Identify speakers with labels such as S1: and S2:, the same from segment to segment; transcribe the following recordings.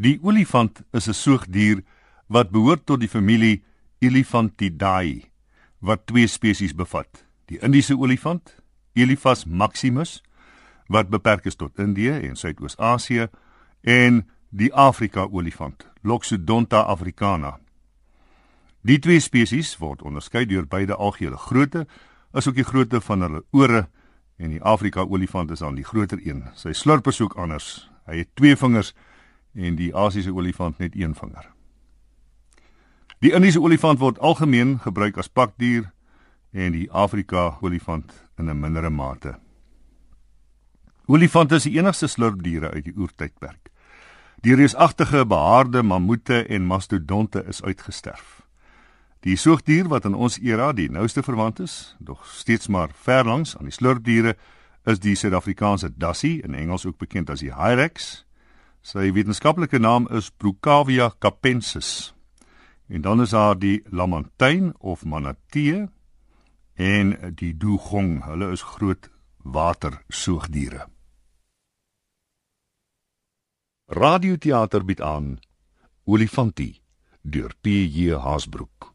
S1: Die olifant is 'n soogdier wat behoort tot die familie Elephantidae wat twee spesies bevat: die Indiese olifant, Elephas maximus, wat beperk is tot Indië en Suidoos-Asië, en die Afrika olifant, Loxodonta africana. Die twee spesies word onderskei deur beide algehele grootte, asook die grootte van hulle ore en die Afrika olifant is dan die groter een. Sy slurp is ook anders. Hy het twee vingers en die Asiese olifant net een vinger. Die Indiese olifant word algemeen gebruik as pakdier en die Afrika olifant in 'n mindere mate. Olifante is die enigste slurpdiere uit die oertydperk. Die reusagtige behaarde mammoete en mastodonte is uitgesterf. Die soogdier wat in ons era die nouste verwant is, dog steeds maar ver langs aan die slurpdiere, is die Suid-Afrikaanse dassie, in Engels ook bekend as die hyrax. Sy wetenskaplike naam is Brucavia capensis. En dan is daar die lamantyn of manatee en die dugong. Hulle is groot watersoogdiere. Radioteater bied aan Olifantie deur PJ Haasbroek.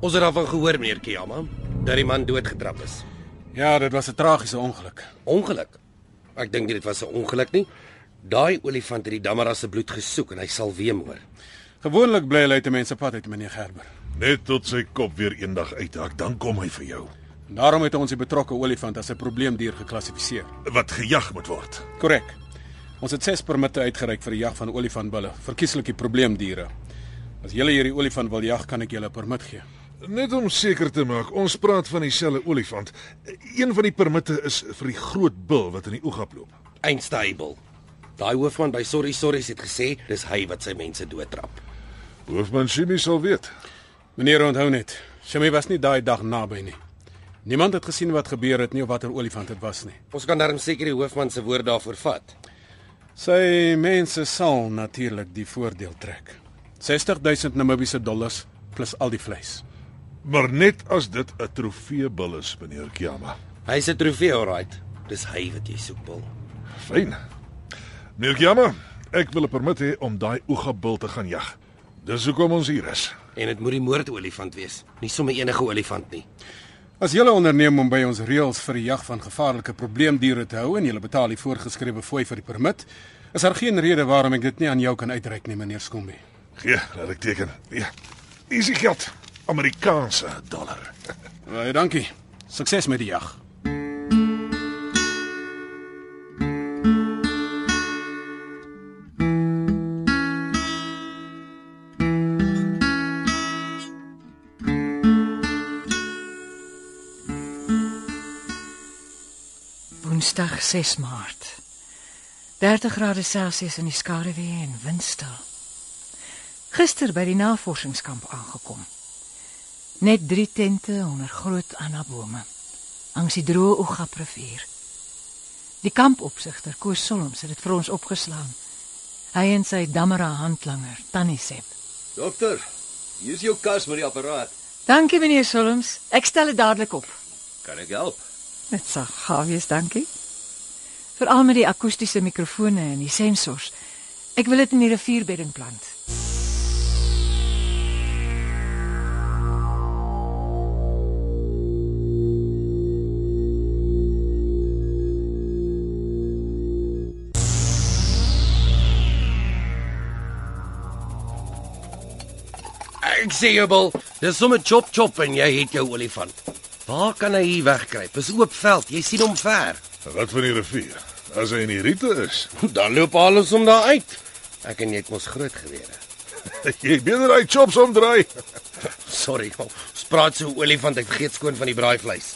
S2: Ons het daarvan gehoor, meneer Kiyama, dat die man doodgetrap is.
S3: Ja, dit was 'n tragiese ongeluk.
S2: Ongeluk. Ek dink nie dit was 'n ongeluk nie. Daai olifant het die Damara se bloed gesoek en hy sal weemoor.
S3: Gewoonlik bly hulle uit mense pad uit, meneer Gerber.
S4: Net tot sy kop weer eendag uithak, dan kom hy vir jou.
S3: En daarom het ons die betrokke olifant as 'n probleemdier geklassifiseer.
S4: Wat gejag moet word.
S3: Korrek. Ons het 6 permitte uitgereik vir die jag van olifantbulle, verkieslik die probleemdiere. As julle hierdie olifant wil jag, kan ek julle 'n permit gee.
S4: Net om seker te maak, ons praat van dieselfde olifant. Een van die permitte is vir die groot bil wat in die oogap loop.
S2: Einstable. Daai hoofman by Sorry Sorries het gesê dis hy wat sy mense doodtrap.
S4: Hoofman Shimi sal weet.
S3: Meneer onthou net, Shami was nie daai dag naby nie. Niemand het gesien wat gebeur het nie of watter olifant dit was nie.
S2: Ons kan darm seker die hoofman se woord daarvoor vat.
S3: Sy mense sal natuurlik die voordeel trek. 60000 Namibiese dollars plus al die vleis.
S4: Maar net as dit 'n trofeebil is, meneer Kiama.
S2: Hy's 'n trofee, alright. Dis hy wat jy soek, Bill.
S4: Fyn. Meneer Kiama, ek wil 'n permit hê om daai oogapbil te gaan jag. Dis hoekom ons hier is.
S2: En dit moet die moordolifant wees, nie sommer enige olifant nie.
S3: As julle onderneem om by ons reëls vir die jag van gevaarlike probleemdiere te hou en julle betaal die voorgeskrewe fooi vir die permit, is daar geen rede waarom ek dit nie aan jou kan uitreik nie, meneer Skombie.
S4: Gee, laat ek teken. Ja. Hier is die geld. Amerikaanse dollar.
S3: Baie dankie. Sukses met die jag.
S5: Woensdag 6 Maart. 30 grade Celsius in die skaduwee en windstil. Gister by die navorsingskamp aangekom. Net 3 tente onder groot anabome langs die droë Oegaprivier. Die kampopsigter Koos Solms het dit vir ons opgeslaan. Hy en sy dammera handlanger Tannie Sep.
S6: Dokter, hier is jou kas met die apparaat.
S5: Dankie meneer Solms. Ek stel dit dadelik op.
S6: Kan ek help?
S5: Dit sal gaaf wees, dankie. Veral met die akoestiese mikrofone en die sensors. Ek wil dit in die rivierbedding plant.
S2: Ek sê jou, Bill, dis sommer chop chop en jy het jou olifant. Waar kan hy hier wegkruip? Dis oop veld, jy sien hom ver.
S4: Wat van die rivier? As hy in die riete is,
S2: Dan loop alles om daar uit. Ek en jy het mos groot gewere.
S4: jy beter daai chops omdraai.
S2: Sorry, maar ons praat so olifant, ek vergeet skoon van die braaivleis.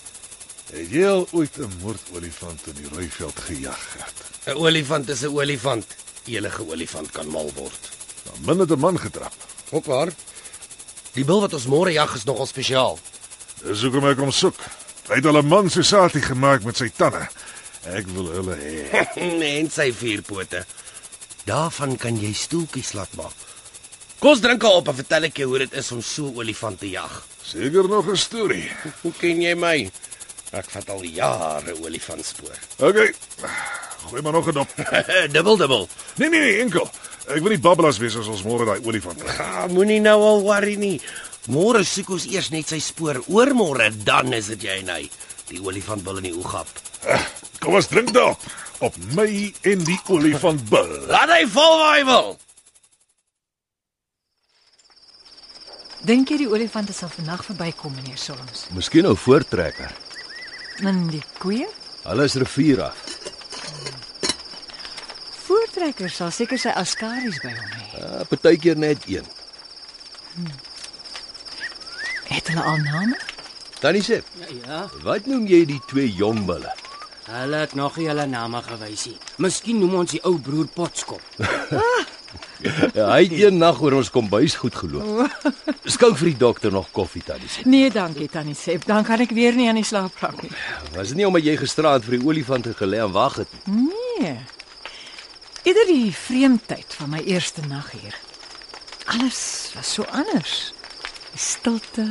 S4: Het jy al ooit 'n moordolifant in die Rooiveld gejag gehad?
S2: 'n Olifant is 'n olifant. enige olifant kan mal word.
S4: Dan min het 'n man getrap.
S2: Ook waar. Die bil wat ons môre jag is nogal spesiaal.
S4: Dis hoekom ek hom soek. Hy het al 'n man se satie gemaak met sy tande. Ek wil hulle hê.
S2: Nee, en sy vierpote. Daarvan kan jy stoeltjies laat maak. Kom ons drink op en vertel ek jou hoe dit is om so 'n olifant te jag.
S4: Seker nog 'n storie.
S2: Hoe ken jy my? Ek vat al jare olifantspoor.
S4: Okay. Gooi maar nog 'n dop.
S2: dubbel dubbel.
S4: Nee nee nee, enkel. Ek wil nie babbelas wees as ons môre daai olifant kry.
S2: Ah, moenie nou al worry nie. Môre soek ons eers net sy spoor. Oormôre dan is dit jy en hy. Die olifant wil in die oog hap.
S4: Kom ons drink daarop op my en die olifant bil.
S2: Laat hy val waar hy wil.
S5: Dink jy die olifante sal vandag verbykom, meneer Solms?
S6: Miskien nou voortrekker.
S5: En die koeie?
S6: Hulle is rivier af.
S5: Voortrekker sal seker sy askaries by hom hê.
S6: Uh, Partykeer net een.
S5: Het hulle al name?
S6: Tannie Sep,
S7: Ja,
S6: wat noem jy die twee jong bulle?
S7: hulle het nog nie hulle name gewys nie. Miskien noem ons die ou broer Potskop.
S6: Ja, hy het een nag oor ons kombuis goed geloop. Skou vir die dokter nog koffie tannie Sep.
S5: Nee, dankie tannie Sep. Dan kan ek weer nie aan die slaap raak nie.
S6: Was dit nie omdat jy gisteraand vir die olifante gelê en wag het nie?
S5: Nee. Eerder die vreemdheid van my eerste nag hier. Alles was so anders. Die stilte.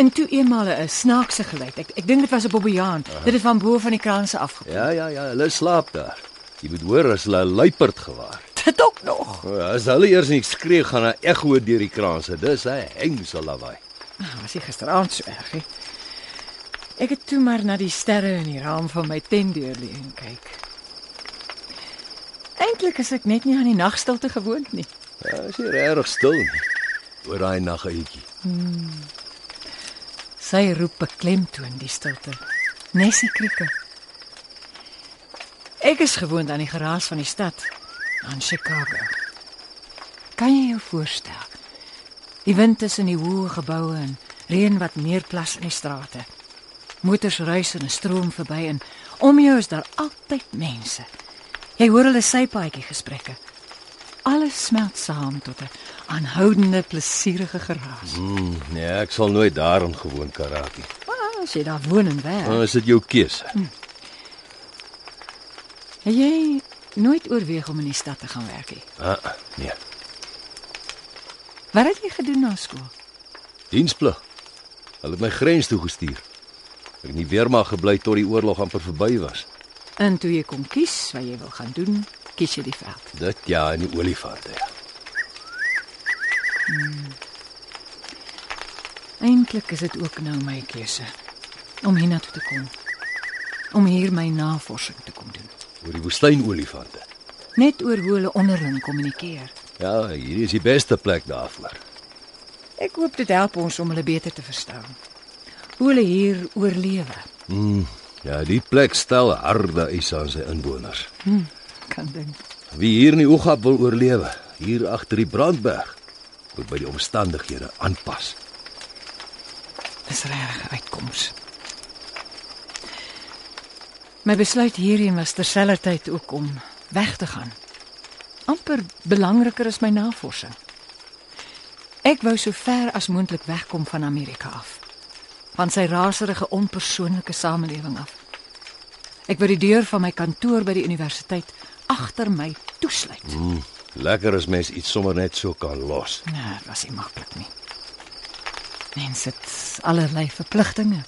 S5: En toe eenmal 'n snaakse geluid. Ek ek dink dit was 'n bobbejaan. Dit het van bo van die kraan se afgekom.
S6: Ja, ja, ja, hulle slaap daar. Jy moet hoor as hulle 'n luiperd gewaar.
S5: Dit ook nog.
S6: O, As hulle eers nie skree gaan 'n ekho deur die kraanse. Dis 'n hengse lawaai.
S5: Nou, was ek gisteraand so erg. He. Ek het toe maar na die sterre in die raam van my tentdeur lê en kyk. Eintlik is ek net nie aan die nagstilte gewoond nie.
S6: Ja, is hier regtig stil nie. Oor daai naguitjie.
S5: Sy roep beklemtoon die stilte. Nessie krieke. Ek is gewoond aan die geraas van die stad, aan Chicago. Kan jy jou voorstel? Die wind tussen die hoë geboue en reën wat neerplas in die strate. Motors ruis in 'n stroom verby en om jou is daar altyd mense. Jy hoor hulle sypaadjie gesprekke. Alles smelt saam tot 'n aanhoudende plesierige geraas.
S6: Mm, nee, ek sal nooit daarin gewoon kan raak nie.
S5: Maar as jy daar woon en werk,
S6: Dan is dit jou keuse.
S5: Het jy nooit oorweeg om in die stad te gaan werk nie?
S6: Ah, ah, nee.
S5: Wat het jy gedoen na skool?
S6: Diensplig. Hulle het my grens toe gestuur. Ek het nie weer maar gebly tot die oorlog amper verby was.
S5: En toe jy kon kies wat jy wil gaan doen, kies jy die veld.
S6: Dit ja, in die olifante. ja.
S5: Eintlik is dit ook nou my keuse om hiernatoe te kom. Om hier my navorsing te kom doen.
S6: Oor die woestynolifante.
S5: Net oor hoe hulle onderling kommunikeer.
S6: Ja, hier is die beste plek daarvoor.
S5: Ek hoop dit help ons om hulle beter te verstaan. Hoe hulle hier oorlewe.
S6: Ja, die plek stel harde eise aan sy inwoners.
S5: Kan dink.
S6: Wie hier in die Oegap wil oorlewe, hier agter die brandberg, moet by die omstandighede aanpas.
S5: Dis regtig uitkoms. My besluit hierheen was terselfdertyd ook om weg te gaan. amper belangriker is my navorsing. Ek wou so ver as moontlik wegkom van Amerika af. Van sy raserige onpersoonlike samelewing af. Ek wou die deur van my kantoor by die universiteit agter my toesluit.
S6: Lekker as mens iets sommer net so kan los.
S5: Nee, dit Nou, was nie maklik nie. Mense het allerlei verpligtinge.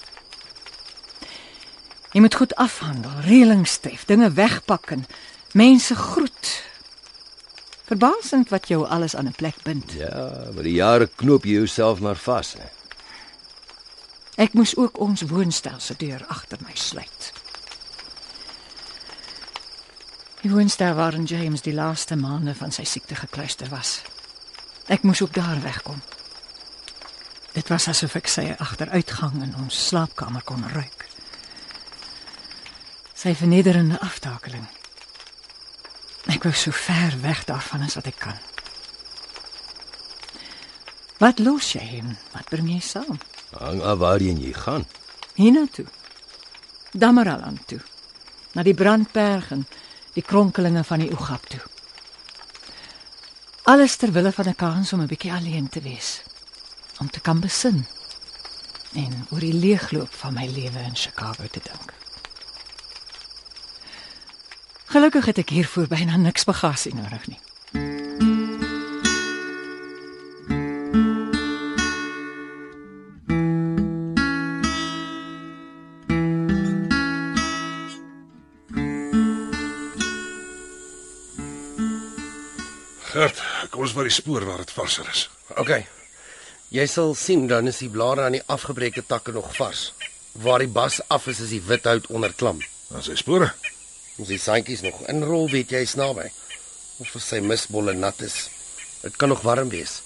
S5: Jy moet goed afhandel, reëlings tref, dinge wegpak en mense groet. Verbaasend wat jou alles aan 'n plek bind.
S6: Ja, met die jare knoop jy jouself maar vas, hè.
S5: Ek moes ook ons woonstel se deur agter my sluit. Die woonstel waarin James die laaste maande van sy siekte gekluister was. Ek moes ook daar wegkom. Dit was asof ek sy agteruitgang in ons slaapkamer kon ruik. Sy vernederende aftakeling. Ek wou so ver weg daarvan as wat ek kan. Wat los jy hem? Wat bring jy saam?
S6: Hang af waarheen jy gaan.
S5: hiernatoe. Damaraland toe. Na die brandberg en die kronkelinge van die Oegap toe. Alles ter wille van 'n kans om 'n bietjie alleen te wees. Om te kan besin en oor die leegloop van my lewe in Chicago te dink. Gelukkig het ek hiervoor byna niks bagasie nodig nie.
S4: Gert, kom ons by die spoor waar dit varser is.
S2: OK. Jy sal sien dan is die blare aan die afgebreekte takke nog vars. Waar die bas af is, is die wit hout onderklam.
S4: Dan sy spore.
S2: Ons die sandjies nog inrol, weet jy, is naby. Of as sy misbolle nat is. Dit kan nog warm wees.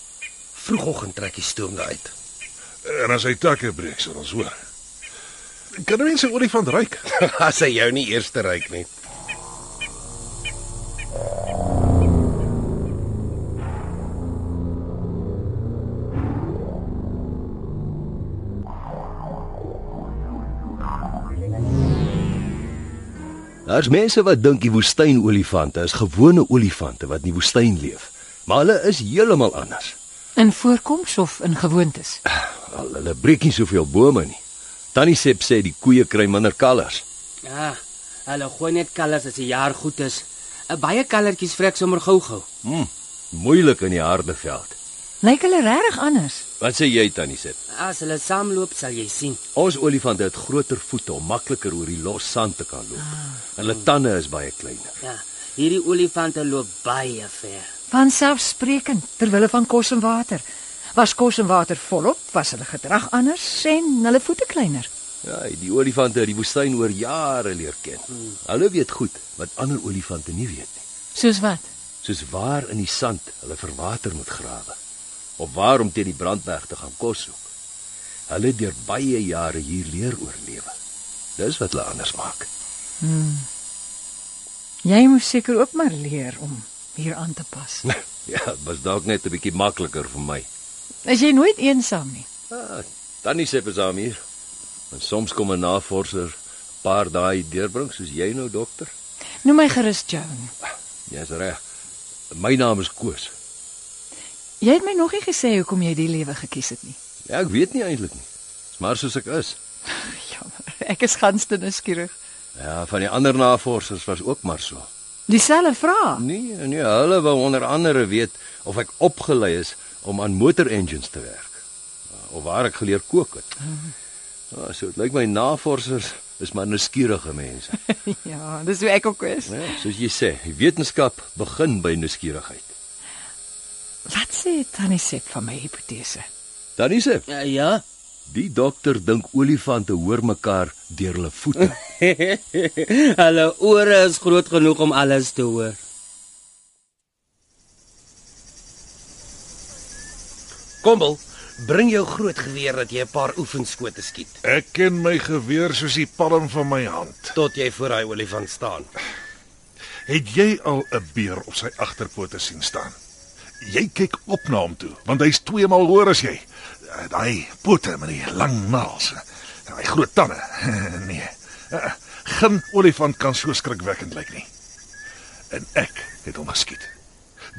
S2: Vroegoggend trek die stoom daai uit.
S4: En as hy takke breek, sal ons hoor. Kan 'n mens 'n olifant ryk?
S2: as hy jou nie eers te ryk nie.
S6: Daar's mense wat dink die woestynolifante is gewone olifante wat in die woestyn leef, maar hulle is heeltemal anders.
S5: In voorkoms of in gewoontes.
S6: Al hulle breek nie soveel bome nie. Tannie Sep sê die koeie kry minder kalvers.
S7: Ja, hulle gooi net kalvers as die jaar goed is. 'n Baie kalvertjies vrek sommer gou-gou.
S6: Hm, moeilik in die harde veld.
S5: Lyk hulle regtig anders?
S6: Wat sê jy Tannie Sep?
S7: As hulle saamloop, sal jy sien.
S6: Ons olifante het groter voete om makliker oor die los sand te kan loop. En hulle tande is baie kleiner.
S7: Ja, hierdie olifante loop baie ver.
S5: Vanselfsprekend ter wille van kos en water. Was kos en water volop, was hulle gedrag anders en hulle voete kleiner.
S6: Ja, die olifante het die woestyn oor jare leer ken. Hulle weet goed wat ander olifante nie weet nie.
S5: Soos wat?
S6: soos waar in die sand hulle vir water moet grawe of waar om teen die brandweg te gaan kos soek. Hulle het deur baie jare hier leer oorlewe. Dis wat hulle anders maak.
S5: Jy moes seker ook maar leer om hier aan te pas.
S6: ja, dit was dalk net 'n bietjie makliker vir my.
S5: Is jy nooit eensaam nie?
S6: Ah, Tannie sê besaam hier. En soms kom 'n navorser 'n paar dae deurbring soos jy nou dokter.
S5: Noem my gerus Joan.
S6: Jy's reg. My naam is Koos.
S5: Jy het my nog nie gesê hoekom jy die lewe gekies het nie.
S6: Ja, ek weet nie eintlik nie. Dis maar soos ek is.
S5: Jammer, ek is gans te nuuskierig.
S6: Ja, van die ander navorsers was ook maar so.
S5: Dieselfde vraag.
S6: Nee, nee, hulle wou onder andere weet of ek opgelei is om aan motor engines te werk eh, of waar ek geleer kook het. Ja, so dit lyk my navorsers is maar nuuskierige mense.
S5: Ja, dis hoe ek ook is.
S6: Ja, soos jy sê, die wetenskap begin by nuuskierigheid.
S5: Wat sê Tannie Sep van my hipotese?
S6: Dan is dit.
S7: Ja, ja.
S6: Die dokter dink olifante hoor mekaar deur hulle voete.
S7: hulle ore is groot genoeg om alles te hoor.
S2: Kombel, bring jou groot geweer dat jy 'n paar oefenskote skiet
S4: Ek ken my geweer soos die palm van my hand.
S2: tot jy voor daai olifant staan.
S4: Het jy al 'n beer op sy agterpote sien staan? Jy kyk op na hom toe, want hy's twee maal hoër as jy. Eh, Daai pote met die lang naels, eh, en daai groot tande. nee. eh, Geen olifant kan so skrikwekkend lyk nie. En ek het hom geskiet.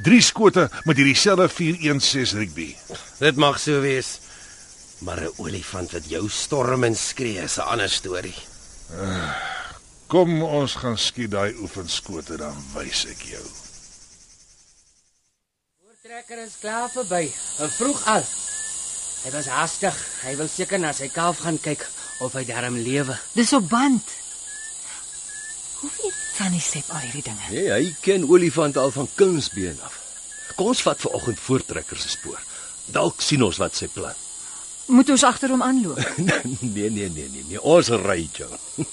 S4: Drie skote met hierdie selfe 416 rugby.
S2: Dit mag so wees. Maar 'n olifant wat jou storm en skree is 'n ander storie.
S4: Kom ons gaan skiet daai oefenskote dan wys ek jou.
S7: Trekker is klaar verby, en vroeg al. Hy was haastig. Hy wil seker na sy kalf gaan kyk of hy darm lewe.
S5: Dis op band. Hoe weet Tannie Sep al hierdie dinge?
S6: Nee, hy ken olifante al van kindsbeen af. Kom ons vat vanoggend voortrekker se spoor. Dalk sien ons wat sy plan.
S5: Moet ons agter hom aanloop?
S6: nee, nee, nee, nee, nee. Ons ry jou.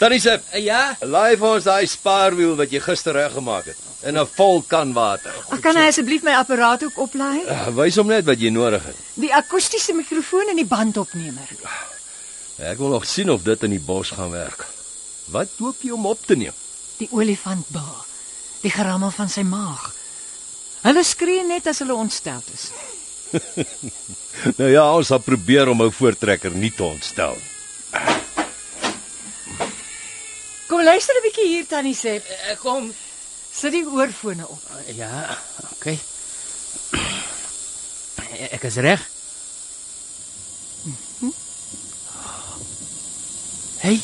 S6: Tannie Sip,
S7: Uh, ja,
S6: laai vir ons daai spaarwiel wat jy gister reggemaak het in 'n vol kan water.
S5: Ag, kan hy asseblief my apparaat ook oplaai?
S6: Uh, Wys hom net wat jy nodig het.
S5: Die akoestiese mikrofoon en die bandopnemer.
S6: Ek wil nog sien of dit in die bos gaan werk. Wat hoop jy om op te neem?
S5: Die olifantbil. Die gerammel van sy maag. Hulle skree net as hulle ontsteld is.
S6: Nou ja, ons sal probeer om ou voortrekker nie te ontstel nie.
S5: Kom Kom luister 'n bietjie hier tannie Sep.
S7: Eh, Kom.
S5: Sit die oorfone op.
S7: Ja, okay. Ek is reg. Hey.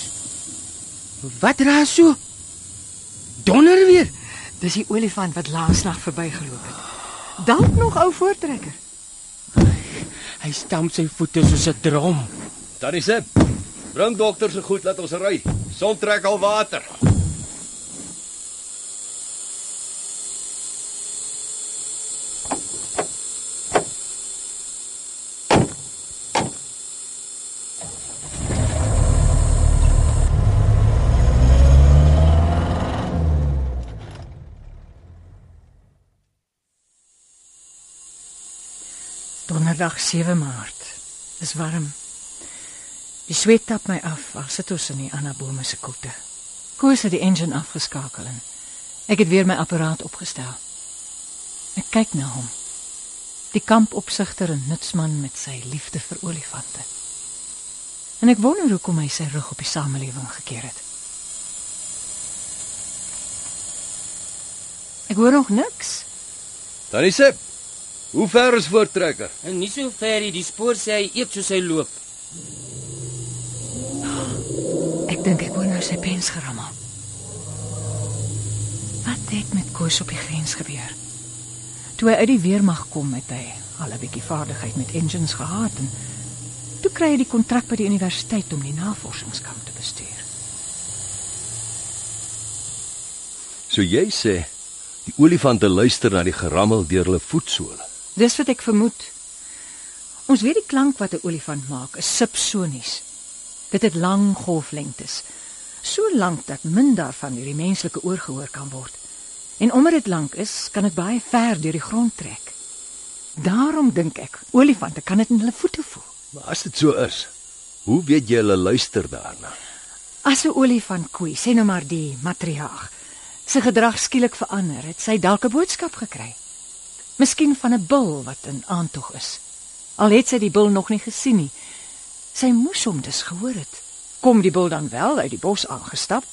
S7: Wat raas so? Donder weer.
S5: Dis die olifant wat laasnag verbygeloop het. Dalk nog ou voortrekker.
S7: Hy stamp sy voete soos 'n drom.
S6: Tannie Sip, bring dokter se goed, laat ons ry. Son trek al water.
S5: Donderdag 7 Maart. Dis warm. Die sweet tap my af as dit ons in die anabome se koelte. Koos het die engine afgeskakel en ek het weer my apparaat opgestel. Ek kyk na hom. Die kampopsigter en nutsman met sy liefde vir olifante. En ek wonder hoekom hy sy rug op die samelewing gekeer het. Ek hoor nog niks.
S6: Tannie Sip, hoe ver is voortrekker?
S7: En nie so ver nie, die spoor sê hy eet soos hy loop.
S5: Ek dink ek hoor nou sy pens gerammel. Wat het met Koos op die grens gebeur? Toe hy uit die weermag kom, het hy al 'n bietjie vaardigheid met engines gehad en toe kry hy die kontrak by die universiteit om die navorsingskamp te bestuur.
S6: So jy sê die olifante luister na die gerammel deur hulle voetsole.
S5: Dis wat ek vermoed. Ons weet die klank wat 'n olifant maak is subsonies. Dit het lang golflengtes. So lank dat min daarvan deur die menslike oor gehoor kan word. En omdat dit lank is, kan dit baie ver deur die grond trek. Daarom dink ek, olifante kan dit in hulle voete voel.
S6: Maar as dit so is, hoe weet jy hulle luister daarna?
S5: As 'n olifant koei, sê nou maar die matriarg, sy gedrag skielik verander, het sy dalk 'n boodskap gekry. Miskien van 'n bul wat in aantog is. Al het sy die bul nog nie gesien nie. Sy moes hom dus gehoor het. Kom die bul dan wel uit die bos aangestap,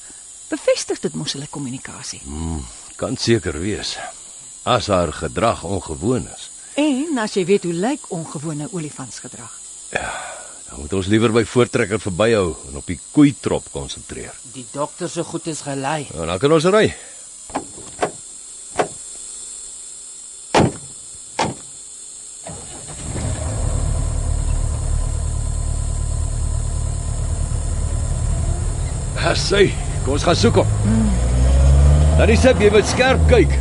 S5: bevestig dit mos hulle kommunikasie.
S6: Kan seker wees as haar gedrag ongewoon is.
S5: En as jy weet hoe lyk ongewone olifantsgedrag.
S6: Dan moet ons liewer by voortrekker verbyhou en op die koei trop konsentreer.
S7: Die dokter se goed is gelei.
S6: Nou, dan kan ons ry. Haai, kom ons gaan soek hom. Dan is dit jy moet skerp kyk.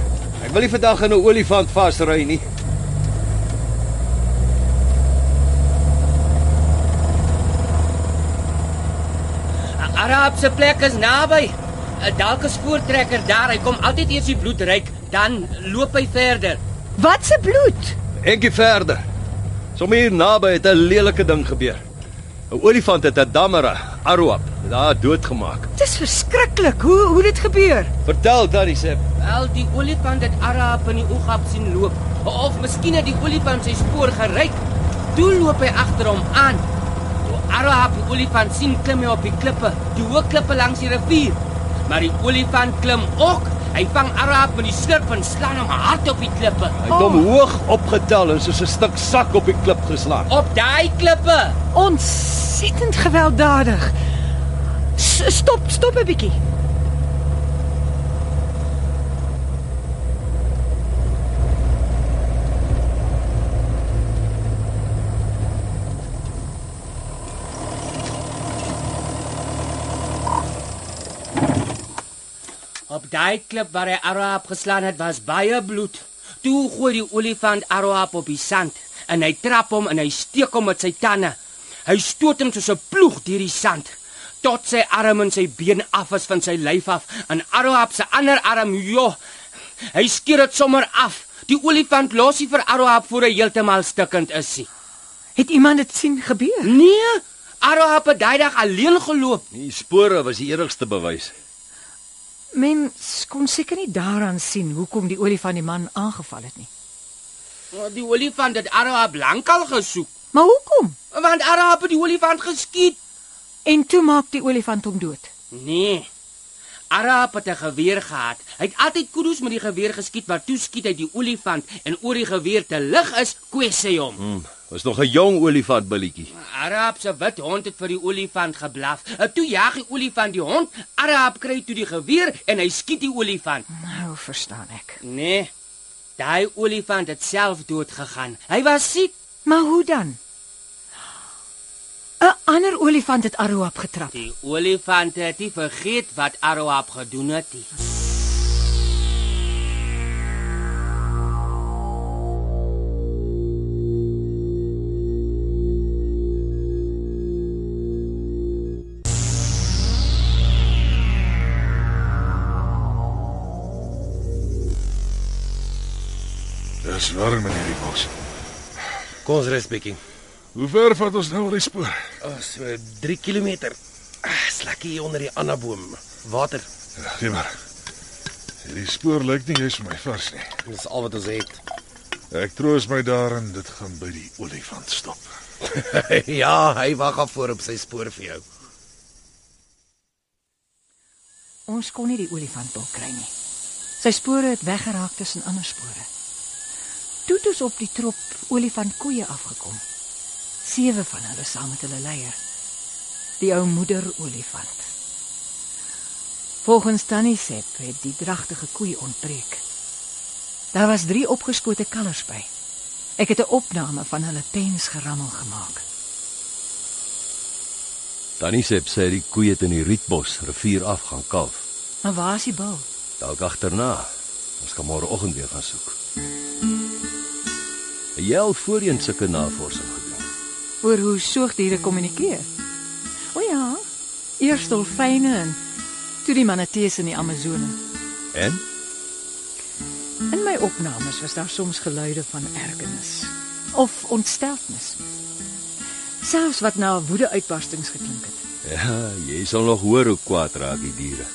S6: Ek wil nie vandag aan 'n olifant vasry nie.
S7: A- Arab se plek is naby. 'n Dalk 'n spoortrekker daar. Hy kom altyd eers die bloed ryk, dan loop hy verder.
S5: Wat se bloed?
S6: Enkie verder. Sommige hier naby het 'n lelike ding gebeur. 'n Olifant het 'n damera, Arwap, daar doodgemaak.
S5: Dis verskriklik hoe hoe dit gebeur.
S6: Vertel Tannie Sep.
S7: Wel, die olifant het Arab in die oogap sien loop. Of miskien het die olifant sy spoor geryk. Toe loop hy agter hom aan. Toe Arab die olifant sien klim hy op die klippe, die hoë klippe langs die rivier. Maar die olifant klim ook. Hy vang Arab met die slurp en slaan hom hard op die klippe.
S6: Hy het hom hoog opgetel en soos 'n stuk sak op die klip geslaan.
S7: Op daai klippe.
S5: Ontsettend gewelddadig. S stop, stop 'n bietjie.
S7: Op daai klip waar hy Arab geslaan het, was baie bloed. Toe gooi die olifant Arab op die sand en hy trap hom en hy steek hom met sy tande. Hy stoot hom soos 'n ploeg deur die sand tot sy arm en sy been af is van sy lyf af en Arab se ander arm, joh, hy skeer dit sommer af. Die olifant los nie vir Arab voor hy heeltemal stikkend is nie.
S5: Het iemand dit sien gebeur?
S7: Nee, Arab het daai dag alleen geloop.
S6: Die spore was die enigste bewys.
S5: Mens kon seker nie daaraan sien hoekom die olifant die man aangeval het nie.
S7: Die olifant het Arab lankal gesoek,
S5: Maar hoekom?
S7: want Arab het die olifant geskiet.
S5: En toe maak die olifant hom dood.
S7: Nee. Arab het 'n geweer gehad. Hy het altyd kudu's met die geweer geskiet, maar toe skiet hy die olifant en oor die geweer te lig is, kwes hy hom.
S6: Hm, was nog 'n jong olifant billetjie.
S7: Arab se wit hond het vir die olifant geblaf. En toe jag die olifant die hond. Arab kry toe die geweer en hy skiet die olifant.
S5: Nou verstaan ek.
S7: Nee. Daai olifant het self dood gegaan. Hy was siek.
S5: Maar hoe dan? 'n Ander olifant het Aroap getrap.
S7: Die olifant het nie vergeet wat Aroap gedoen het nie.
S4: Dis warm in hierdie bos.
S2: Kom ons rus bietjie.
S4: Hoe ver vat ons nou al die spoor?
S2: Ons Oh, so 3 km. Ah, slakkie hier onder die annaboom. Water.
S4: Ja, Gee maar. Hierdie spoor lyk nie jy's vir my vars nie.
S2: Dis al wat ons het.
S4: Ek troos my daarin dit gaan by die olifant stop.
S2: ja, hy wag af voor op sy spoor vir jou.
S5: Ons kon nie die olifant wil kry nie. Sy spore het weggeraak tussen ander spore. Toe het ons op die trop olifantkoeie afgekom. Sewe van hulle saam met hulle leier. Die ou moeder olifant. Volgens Tannie Sepp het die dragtige koei ontbreek. Daar was 3 opgeskote kalvers by. Ek het 'n opname van hulle pens gerammel gemaak.
S6: Tannie Sep sê die koeie het in die rietbos rivier af gaan kalf.
S5: Maar waar is die bul?
S6: Dalk agterna. Ons kan môreoggend weer gaan soek. Het Jy al voorheen sulke navorsing gedoen.
S5: oor hoe soogdiere kommunikeer. O ja, eers dolfyne en toe die manatees in die Amazone.
S6: En
S5: In my opnames was daar soms geluide van ergernis of ontsteltenis. Selfs wat na woede-uitbarstings geklink het.
S6: ja, jy sal nog hoor hoe kwaad raak die diere.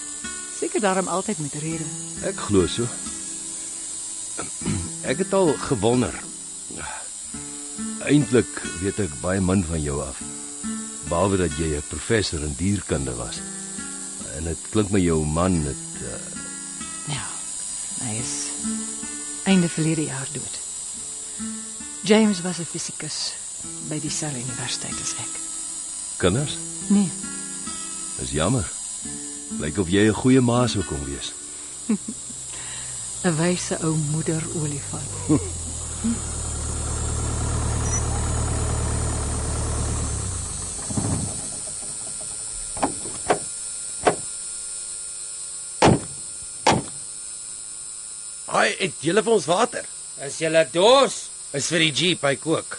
S5: Seker daarom altyd met rede.
S6: Ek glo so. Ek het al gewonder. Eintlik weet ek baie min van jou af. Behalwe dat jy 'n professor in dierkunde was. En dit klink my jou man het uh,
S5: Ja. Hy is einde verlede jaar dood. James was 'n fisikus by die Surrey Universiteit as ek.
S6: kinders.
S5: Nee,
S6: Dis jammer. Lyk of jy 'n goeie ma sou kon wees.
S5: 'n wyse ou moeder olifant.
S2: Haai, het jy vir ons water?
S7: Is jy dors?
S2: Is vir die jeep, hy kook.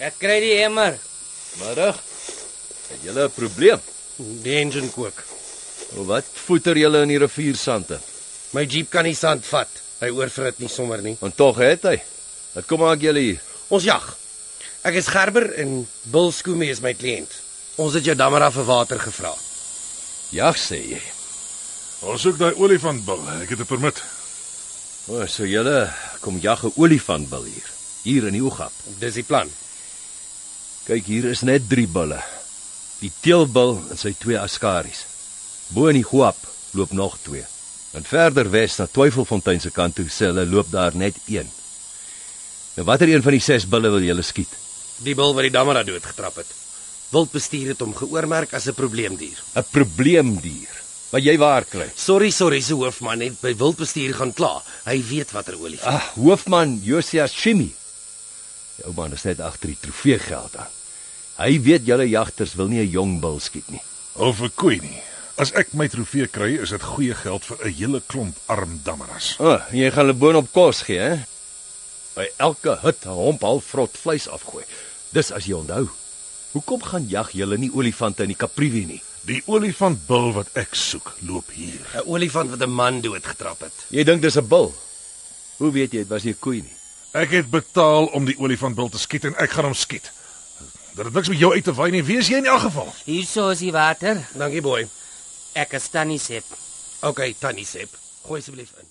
S7: Ek kry die emmer.
S6: Middag. Het julle 'n probleem?
S2: Die engine kook.
S6: Of wat voeter julle in die riviersande?
S2: My jeep kan nie sand vat. Hy oorvrit nie sommer nie.
S6: En tog het hy. Wat kom maak julle hier?
S2: Ons jag. Ek is Gerber en Bill Skoomie is my kliënt. Ons het jou dammer af vir water gevra.
S6: Jag Ja, sê jy.
S4: Ons soek daai olifantbil. Ek het 'n permit.
S6: O, so julle kom jag 'n olifantbil hier. Hier in die Oegap.
S2: Dis die plan.
S6: Kyk, hier is net drie bulle. Die teelbil en sy twee askaries. Bo in die Oegap loop nog twee. En verder wes na Twyfelfontein se kant toe sê hulle loop daar net een. Nou watter een van die ses bulle wil julle skiet?
S2: Die bil wat die dammer aan dood getrap het. Wildbestuur het hom geoormerk as 'n probleemdier.
S6: 'n Probleemdier wat jy waar kry.
S2: Sorry, sorry, se hoofman het by wildbestuur gaan kla. Hy weet watter olifant.
S6: Ag, Ah, hoofman Josias Chimmy. Die ou man is net agter die trofeegeld aan. Hy weet julle jagters wil nie 'n jong bul skiet nie.
S4: Of 'n koei nie. As ek my trofee kry, is dit goeie geld vir 'n hele klomp arm dammeras.
S6: O, oh, jy gaan hulle boonop kos gee, hè? By elke hut 'n homp half vrot vleis afgooi. Dis as jy onthou. Hoekom gaan jag julle nie olifante in die Kaprivi nie?
S4: Die olifantbil wat ek soek, loop hier.
S2: 'n Olifant wat 'n man doodgetrap het.
S6: Jy dink dis 'n bil. Hoe weet jy dit was nie 'n koei nie?
S4: Ek het betaal om die olifantbil te skiet en ek gaan hom skiet. Dat dit niks met jou uit te wy nie. Wees jy in elk geval.
S7: Hierso is die water.
S2: Dankie boy.
S7: Ek is tannie Sep.
S2: OK, tannie Sep, gooi asseblief in.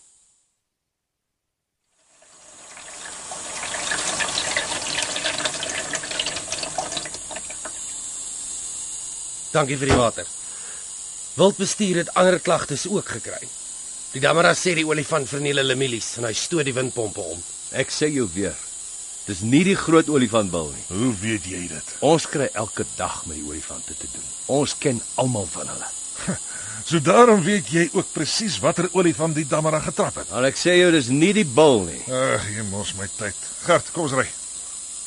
S2: Dankie vir die water. Wildbestuur het ander klagtes ook gekry. Die Damara sê die olifant verniel hulle mielies en hy stoot die windpompe om.
S6: Ek sê jou weer. Dis nie die groot olifantbil nie.
S4: Hoe weet jy dit?
S6: Ons kry elke dag met die olifante te doen. Ons ken almal van hulle.
S4: So daarom weet jy ook presies watter olifant die damara getrap het.
S6: Maar ek sê jou dis nie die bil nie.
S4: Ag, jy mors my tyd. Gert, kom ons ry.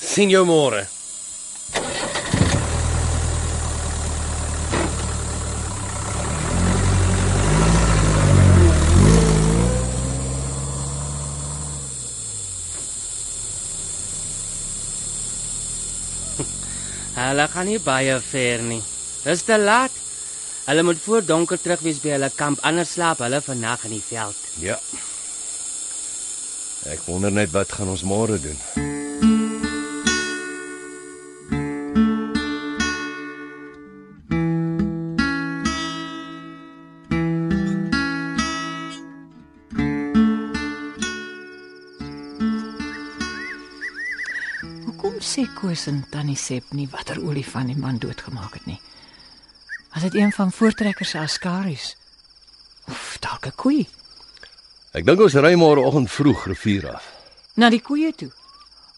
S2: sien jou môre.
S7: Hulle gaan nie baie ver nie. Dis te laat. Hulle moet voor donker terug wees by hulle kamp, anders slaap hulle vannag in die veld.
S6: Ja. Ek wonder net wat gaan ons môre doen.
S5: Hoekom sê Koos en Tannie Sep nie watter olifant die man doodgemaak het nie? Was dit een van voortrekkers se askaries? Of dalk 'n koei?
S6: Ek dink ons ry môreoggend vroeg rivier af.
S5: Na die koeie toe.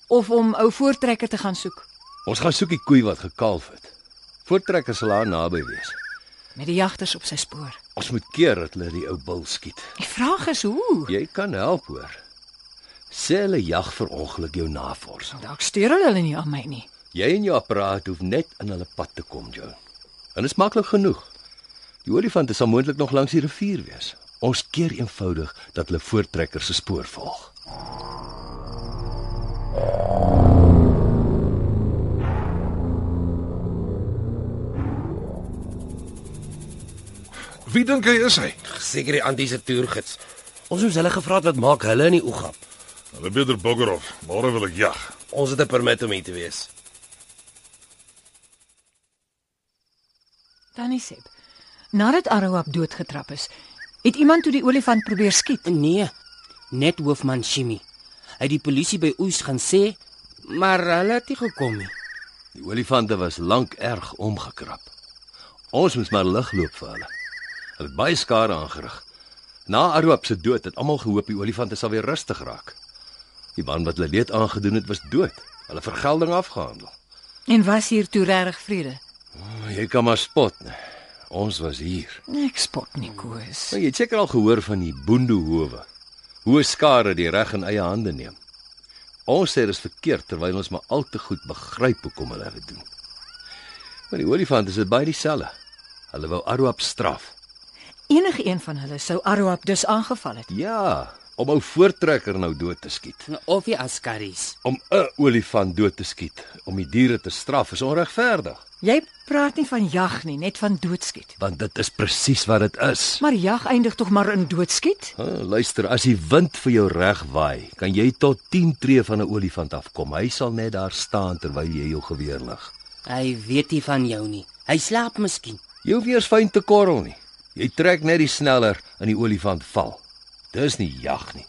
S5: Of om ou voortrekker te gaan soek
S6: Ons gaan soek die koei wat gekalf het. Voortrekker sal haar naby wees.
S5: met die jagters op sy spoor.
S6: Ons moet keer dat hulle die ou bil skiet.
S5: Die vraag is hoe?
S6: Jy kan help hoor. Sê hulle jag vir ongeluk jou navorsing.
S5: Dalk steur hulle hulle nie aan my nie.
S6: Jy en jou apparaat hoef net in hulle pad te kom, Joe. En dit is maklik genoeg. Die olifante sal moontlik nog langs die rivier wees. Ons keer eenvoudig dat hulle voortrekker se spoor volg.
S4: Wie dink hy is hy?
S2: Seker die Antie se toergids. Ons moes hulle gevra het wat maak hulle in die Oegap.
S4: Hulle beter Boggerhof. Môre wil ek jag.
S2: Ons het 'n permit om hier te wees.
S5: Tannie Sep. Nadat Aroap doodgetrap is, het iemand toe die olifant probeer skiet.
S7: Nee, net hoofman Shimi. Hy het die polisie by Oos gaan sê, maar hulle het nie gekom nie.
S6: Die olifante was lank erg omgekrap. Ons moes maar lig loop vir hulle. Hulle het baie skade aangerig. Na Aroop se dood het almal gehoop die olifante sal weer rustig raak. Die man wat hulle leed aangedoen het, was dood. Hulle vergelding afgehandel.
S5: En was hier toe regtig vrede?
S6: Maar Oh, jy kan maar spot. né? Ons was hier.
S5: Nee, Ek spot nie Koos.
S6: Maar jy het seker al gehoor van die boendehowe. Hoe 'n skare die reg in eie hande neem. Ons sê dit is verkeerd terwyl ons maar al te goed begryp hoekom hulle dit doen. Maar die olifant is dit baie dieselfde. Hulle wou Aruap straf.
S5: Enige een van hulle sou Aroap dus aangeval het.
S6: Ja, om ou voortrekker nou dood te skiet.
S7: Of die askaries.
S6: Om 'n olifant dood te skiet, om die diere te straf is onregverdig,
S5: Jy praat nie van jag nie, net van doodskiet.
S6: want dit is presies wat dit is.
S5: Maar jag eindig tog maar in doodskiet?
S6: Ah, luister, as die wind vir jou reg waai, kan jy tot 10 tree van 'n olifant afkom. Hy sal net daar staan terwyl jy jou geweer lig.
S7: Hy weet nie van jou nie. Hy slaap miskien.
S6: Jy hoef eers fyn te korrel nie. Jy trek net die sneller en die olifant val. Dis nie jag nie.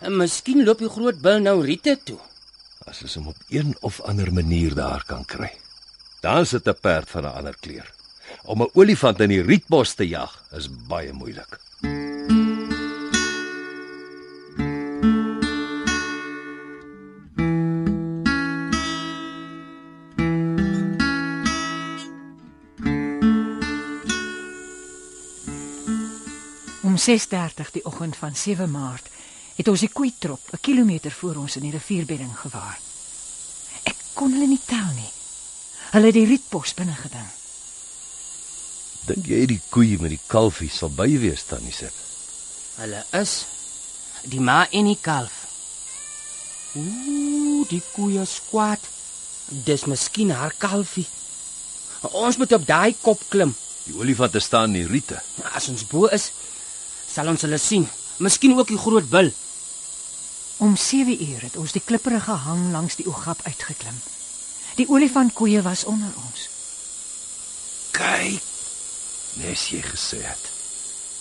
S7: En miskien loop die groot bil nou Riete toe.
S6: As ons hom op een of ander manier daar kan kry. Dan sit 'n perd van 'n ander kleur. Om 'n olifant in die rietbos te jag is baie moeilik.
S5: Om 6:30 die oggend van 7 Maart het ons die koei trop 'n kilometer voor ons in die rivierbedding gewaar. Ek kon hulle nie tel nie. Hulle het die rietbos binne geding.
S6: Dink jy die koeie met die kalfie sal by wees tannie Sip?
S7: Hulle is die ma en die kalf. Ooh, die koeie skwaat. Dis miskien haar kalfie. Ons moet op daai kop klim.
S6: Die olifante staan in die riete.
S7: As ons bo is, sal ons hulle sien. Miskien ook die groot bil.
S5: Om 7 uur het ons die klipperige hang langs die Oegap uitgeklim. Die olifantkoeie was onder ons.
S6: Kyk, nes jy gesê het.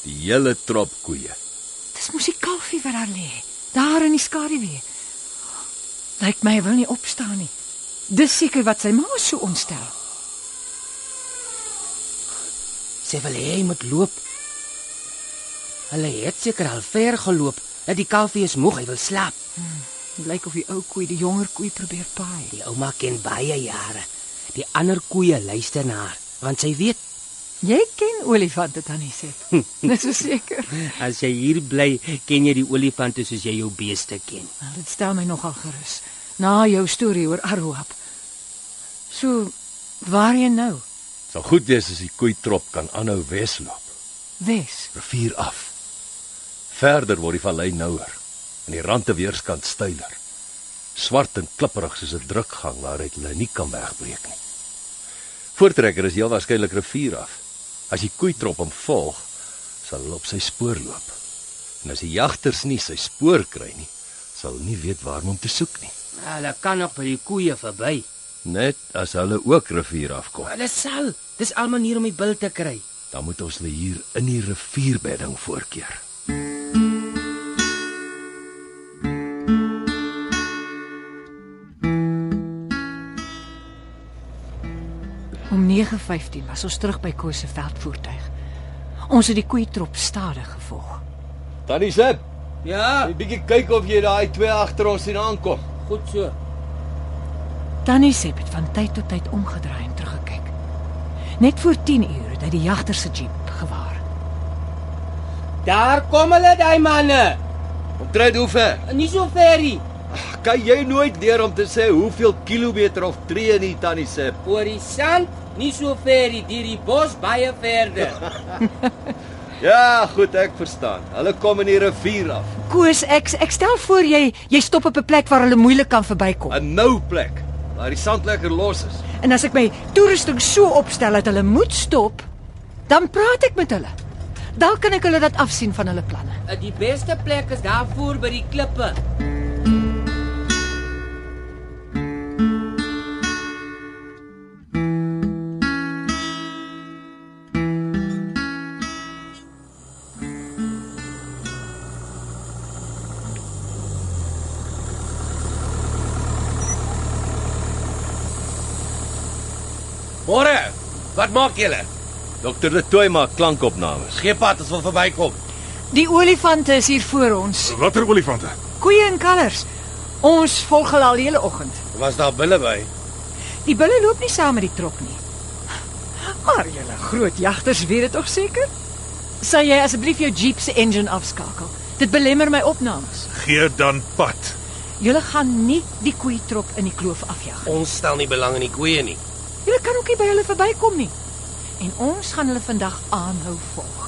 S6: Die hele trop koeie.
S5: Dis mos die kalfie wat daar lê, daar in die skaduwee. Lyk my hy wil nie opstaan nie. Dis seker wat sy ma so ontstel.
S7: Sy wil hê hy moet loop. Hulle het seker al ver geloop. Dat die kalfie is moeg, hy wil slaap.
S5: Blyk of die ou koei die jonger koei probeer paai.
S7: Die ouma ken baie jare. Die ander koeie luister na haar, want sy weet
S5: Jy ken olifante tannie sê. Dis so seker.
S7: as jy hier bly, ken jy die olifante soos jy jou beeste ken.
S5: Nou, dit stel my nogal gerus. Na jou storie oor Aruap. So waarheen nou?
S6: Sal goed wees as die koei trop kan aanhou wesloop,
S5: Wes.
S6: rivier af. Verder word die vallei nouer en die rand te weerskant steiler. Swart en klipperig soos 'n drukgang waaruit hulle nie kan wegbreek nie. Voortrekker is heel waarskynlik rivier af. As die koei trop hom volg, sal hulle op sy spoor loop. En as die jagters nie sy spoor kry nie, sal hulle nie weet waar om hom te soek nie.
S7: Hulle kan nog by die koeie verby.
S6: Net as hulle ook rivier afkom.
S7: Hulle sal. Dis al manier om die bil te kry.
S6: dan moet ons hulle hier in die rivierbedding voorkeer.
S5: Om 9:15 was ons terug by Koos se veldvoertuig. Ons het die koei trop stadig gevolg.
S6: Tannie Sip,
S7: Ja,
S6: 'n bietjie kyk of jy daai twee agter ons sien aankom.
S7: goed so.
S5: Tannie Sep het van tyd tot tyd omgedraai en teruggekyk. Net voor 10 uur het hy die jagter se jeep gewaar.
S7: Daar kom hulle daai manne.
S6: Omtrent hoe ver?
S7: Nie so ver nie.
S6: Kan jy nooit leer om te sê hoeveel kilometer of tree nie, Tannie Sip?
S7: Oor die sand, nie so ver nie, deur die bos baie verder.
S6: Ja, goed, ek verstaan. Hulle kom in die rivier af.
S5: Koos, ek ek stel voor jy jy stop op 'n plek waar hulle moeilik kan verbykom.
S6: 'n Nou plek waar die sand lekker los is.
S5: En as ek my toerusting so opstel dat hulle moet stop, dan praat ek met hulle. Dan kan ek hulle laat afsien van hulle planne.
S7: Eh, Die beste plek is daar voor by die klippe.
S2: Môre, wat maak julle?
S6: Dokter De Tooy maak klankopnames.
S2: Gee pad, ons wil verbykom.
S5: Die olifante is hier voor ons.
S4: Watter olifante?
S5: Koeie en kalvers. Ons volg hulle al die hele oggend.
S2: Was daar bulle by?
S5: Die bulle loop nie saam met die trok nie. Maar julle groot jagters weet dit tog seker? Sal jy asseblief jou jeep se engine afskakel? Dit belemmer my opnames.
S4: Gee dan pad.
S5: Julle gaan nie die koei trop in die kloof afjag.
S2: Ons stel nie belang in die koeie nie.
S5: Julle kan ook nie by hulle verbykom nie. En ons gaan hulle vandag aanhou volg.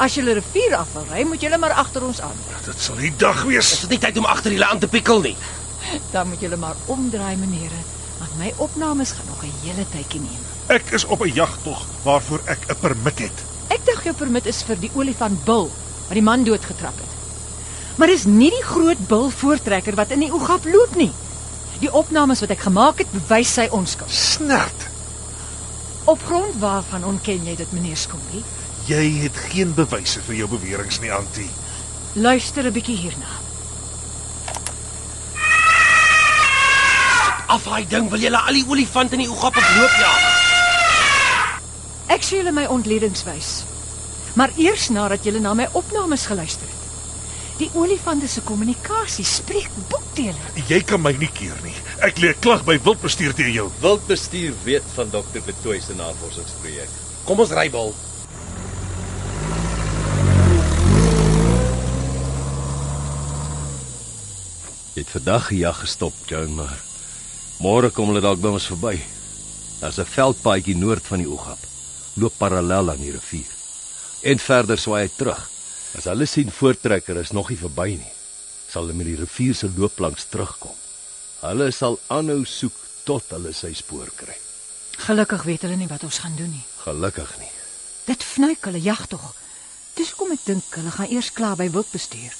S5: As julle rivier af wil ry, moet julle maar agter ons aan.
S4: Dit sal die dag
S2: Is
S4: wees.
S2: dit nie tyd om agter die land te pikkel nie?
S5: Dan moet julle maar omdraai, menere, want my opnames gaan nog 'n hele tydjie neem.
S4: Ek is op 'n jagtog waarvoor ek 'n permit het.
S5: Ek dink jou permit is vir die olifant Bil wat die man doodgetrap het. Maar dis nie die groot Bil voortrekker wat in die oogap loop nie. Die opnames wat ek gemaak het, bewys sy onskuld.
S4: Snert.
S5: Op grond waarvan ontken jy dit, meneer Skombie?
S4: Jy het geen bewyse vir jou beweringe nie, Antie.
S5: Luister 'n bietjie hierna.
S2: Af daai ding wil julle al die olifante in die oogap oploop ja.
S5: Ek sê julle my ontledingwys. Maar eers nadat julle na my opnames geluister het. Die olifante se kommunikasie spreek boekdele.
S4: Jy kan my nie keer nie. Ek lê 'n klag by wildbestuur teen jou.
S6: Wildbestuur weet van dokter De Tooy se navorsingsprojek.
S2: Kom ons ry bal.
S6: Jy het vandag die jag gestop, Joan, maar môre kom hulle dalk by ons verby. Daar's 'n veldpaadjie noord van die Oegap. Loop parallel aan die rivier. En verder swaai hy terug. As hulle sien voortrekker is nog nie verby nie, sal hulle met die rivier se loop langs terugkom. Hulle sal aanhou soek tot hulle sy spoor kry.
S5: Gelukkig weet hulle nie wat ons gaan doen nie.
S6: Gelukkig nie.
S5: Dit fnuik hulle jag tog. Dis hoekom ek dink hulle gaan eers klaar by wildbestuur.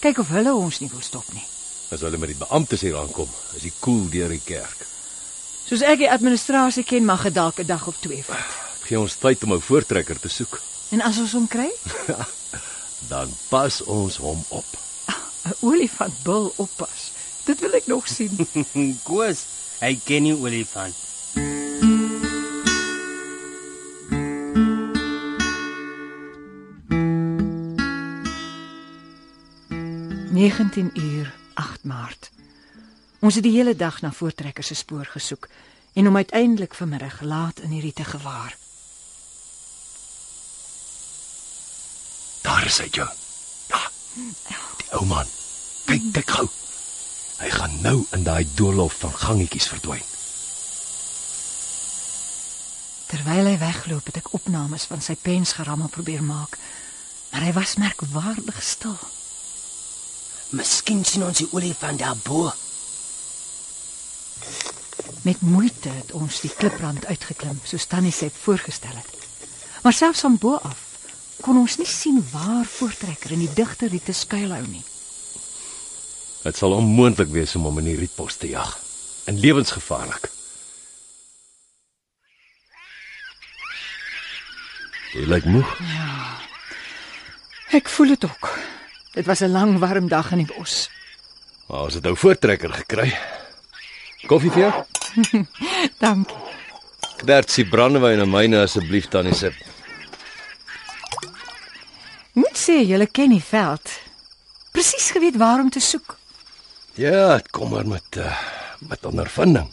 S5: Kyk of hulle ons nie wil stop nie.
S6: As hulle met die beamptes hier aankom, is die koel deur die kerk.
S5: Soos ek die administrasie ken, mag dit dalk 'n dag of twee vat.
S6: Gee ons tyd om 'n voortrekker te soek.
S5: En as ons hom kry,
S6: Dan pas ons hom op.
S5: 'n olifant bil oppas. Dit wil ek nog sien.
S7: Koos, hy ken nie olifant.
S5: 19 uur 8 Maart. Ons het die hele dag na voortrekker se spoor gesoek en hom uiteindelik vanmiddag laat in hierdie te gewaar.
S2: Daar is hy, Joe. Ja. Die ou man. Kyk, kyk gou. Hy gaan nou in daai doolhof van gangetjies verdwyn.
S5: Terwyl hy wegloop, het ek opnames van sy pensgerammel probeer maak, maar hy was merkwaardig stil.
S7: Miskien sien ons die olifant daarbo.
S5: Met moeite het ons die kliprand uitgeklim, soos Tannie Sep voorgestel het. Maar selfs van bo af kon ons nie sien waar voortrekker in die digte riete skuilhou nie.
S6: Dit sal onmoontlik wees om hom in die rietbos te jag. En lewensgevaarlik. Jy lyk moeg.
S5: Ek voel dit ook. Dit was 'n lang warm dag in die bos.
S6: Maar ons het ou voortrekker gekry. Koffie vir jou?
S5: Dankie.
S6: Knertsie brandewyn en myne asseblief tannie Sip.
S5: Moet sê jy ken die veld. Presies geweet waar om te soek.
S6: Ja, het kom maar met uh, met ondervinding.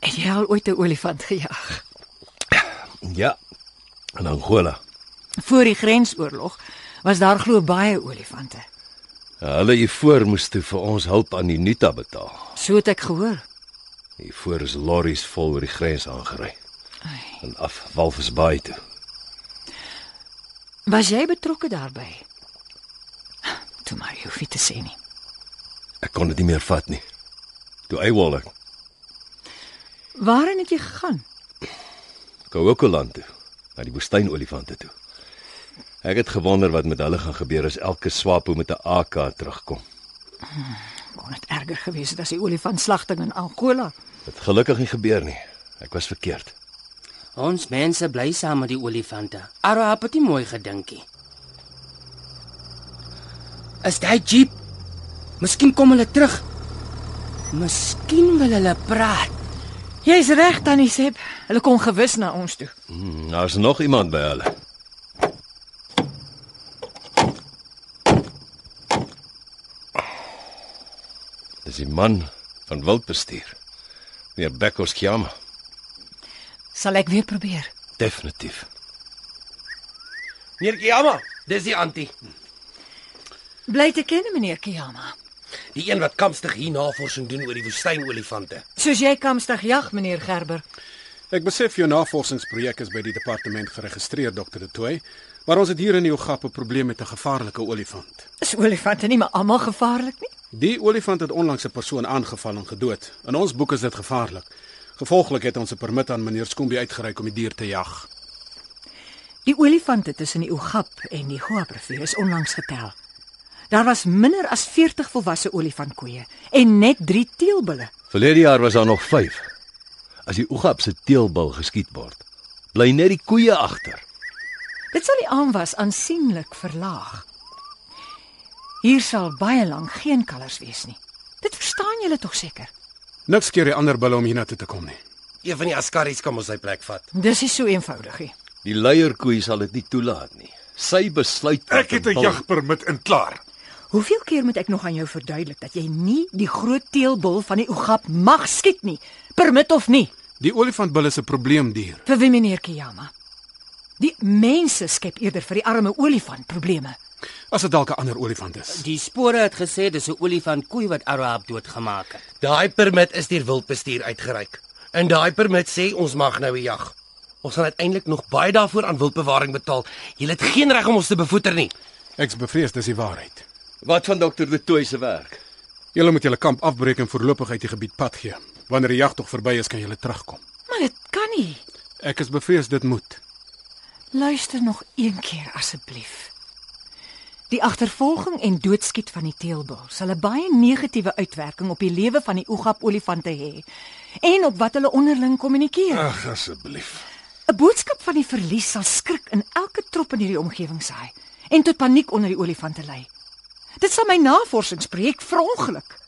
S5: Het jy al ooit 'n olifant gejag?
S6: Ja. In Angola.
S5: Voor die grensoorlog was daar glo baie olifante.
S6: Ja, Hulle hier voor moes toe vir ons hulp aan die Nita betaal.
S5: So het ek gehoor.
S6: Hier voor is lorries vol oor die grens aangery
S5: Ai,
S6: en af Walvisbaai toe.
S5: Was jy betrokke daarbey? Toe maar jy hoef nie te sê nie.
S6: Ek kon dit nie meer vat nie. Toe eiwol ek
S5: Waarheen het jy gegaan?
S6: Kokoland toe, na die woestynolifante toe. Ek het gewonder wat met hulle gaan gebeur as elke swapo met 'n AK terugkom.
S5: Kon dit erger gewees het as die olifantslagting in Angola?
S6: Dit gelukkig nie gebeur nie. Ek was verkeerd.
S7: Ons mense bly saam met die olifante. Arab het nie mooi gedinkie. Is daai jeep? Miskien kom hulle terug. Miskien wil hulle praat.
S5: Jy's reg, Tannie Sep. Hulle kom gewis na ons toe.
S6: Hmm, Daar's nog iemand by hulle. Dis die man van wildbestuur. Meneer Bekkos Kiama,
S5: Sal ek weer probeer.
S6: definitief.
S2: Meneer Kiama,
S7: Dis die antie.
S5: Bly te ken, meneer Kiyama.
S2: die een wat kampstig hier navorsing doen oor die woestynolifante.
S5: Soos jy kamstig jag, meneer Gerber.
S3: Ek besef jou navorsingsprojek is by die departement geregistreer, Dr. De Tooy, maar ons het hier in Jogape 'n probleem met 'n gevaarlike olifant.
S5: Is olifante nie maar almal gevaarlik nie?
S3: Die olifant het onlangs 'n persoon aangeval en gedood. In ons boek is dit gevaarlik. Gevolglik het ons 'n permit aan meneer Skombie uitgereik om die dier te jag.
S5: Die olifante tussen die Oegap en die Goa-rivier is onlangs getel. Daar was minder as 40 volwasse olifantkoeie en net 3 teelbulle.
S6: Verlede jaar was daar nog 5. As die Oegap se teelbil geskiet word, bly net die koeie agter.
S5: Dit sal die aanwas aansienlik verlaag. Hier sal baie lank geen kalvers wees nie. Dit verstaan julle tog seker.
S3: Niks keer die ander bulle om hiernatoe te kom nie.
S2: Een van die askaries kan ons sy plek vat.
S5: Dis nie so eenvoudig nie.
S6: Die leierkoei sal dit nie toelaat nie. Sy besluit wat
S4: Ek het 'n
S6: bil-
S4: jagpermit en klaar.
S5: Hoeveel keer moet ek nog aan jou verduidelik dat jy nie die groot teelbul van die Oegap mag skiet nie, permit of nie,
S3: Die olifantbulle is 'n probleemdier.
S5: vir wie meneer Kiyama? Die mense skep eerder vir die arme olifant probleme.
S3: As dit dalk 'n ander olifant is.
S7: Die spore het gesê dis 'n olifant koei wat Arab doodgemaak het.
S2: Daai permit is deur wildbestuur uitgereik. En daai permit sê ons mag nou 'n jag. Ons gaan uiteindelik nog baie daarvoor aan wildbewaring betaal. Jy het geen reg om ons te bevoeter nie.
S3: Ek's bevrees dis die waarheid.
S6: Wat van dokter De Tooy se werk?
S3: Julle moet julle kamp afbreek en voorlopig uit die gebied pad gee. Wanneer die jagtog verby is, kan julle terugkom.
S5: Maar dit kan nie.
S3: Ek is bevrees dit moet.
S5: Luister nog een keer asseblief. Die agtervolging en doodskiet van die teelbul sal 'n baie negatiewe uitwerking op die lewe van die Oegap olifante hê en op wat hulle onderling kommunikeer.
S4: Ag asseblief.
S5: 'n Boodskap van die verlies sal skrik in elke trop in hierdie omgewing saai en tot paniek onder die olifante lei. Dit sal my navorsingsprojek verongeluk.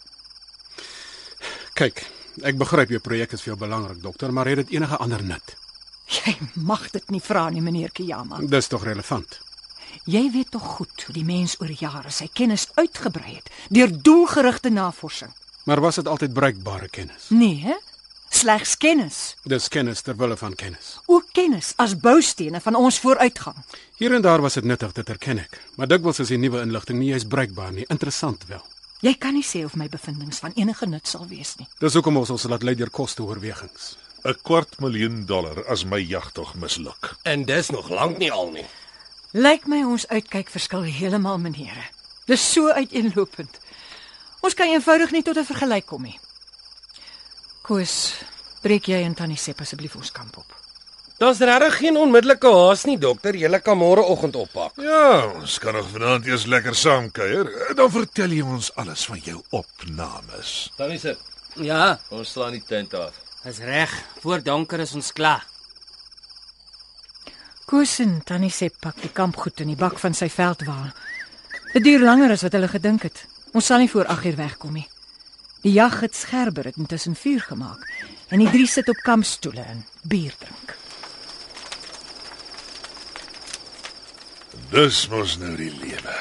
S3: Kyk, ek begryp jou projek is vir jou belangrik, dokter, maar het dit enige ander nut?
S5: Jy mag dit nie vra nie, meneer Kiyama.
S3: Dis tog relevant.
S5: Jy weet tog goed hoe die mens oor jare sy kennis uitgebrei het deur doelgerigte navorsing.
S3: Maar was dit altyd bruikbare kennis?
S5: Nee, hè? Slegs kennis,
S3: Dis kennis ter wille van kennis.
S5: ook kennis as boustene van ons vooruitgang.
S3: Hier en daar was dit nuttig, dit erken ek, maar dikwels is die nuwe inligting nie eens bruikbaar nie, interessant wel.
S5: Jy kan nie sê of my bevindinge van enige nut sal wees nie.
S3: Dis hoekom ons ons laat lei deur kosteoorwegings.
S4: 'n kwart miljoen dollar as my jagtog misluk.
S2: En dis nog lank nie al nie.
S5: Lyk my ons uitkyk verskil heeltemal, menere. Dis so uiteenlopend. Ons kan eenvoudig nie tot 'n vergelyk kom nie. Koos, breek jy en Tannie Sepp asseblief ons kamp op.
S2: Daar's regtig geen onmiddellike haas nie, dokter. Jy kan môreoggend oppak.
S4: Ja, ons kan nog vanaand eers lekker saam kuier. Dan vertel jy ons alles van jou opnames.
S8: Tannie se,
S7: Ja,
S8: ons slaan die tent af.
S7: is reg. Voor donker is ons klaar.
S5: Koos en Tannie Sepp pak die kampgoed in die bak van sy veldwa. Dit duur langer as wat hulle gedink het. Ons sal nie voor 8uur wegkom nie. Die jag het scherper het intussen vuur gemaak en die drie sit op kampstoele en bier drink.
S4: Dis mos nou die lewe.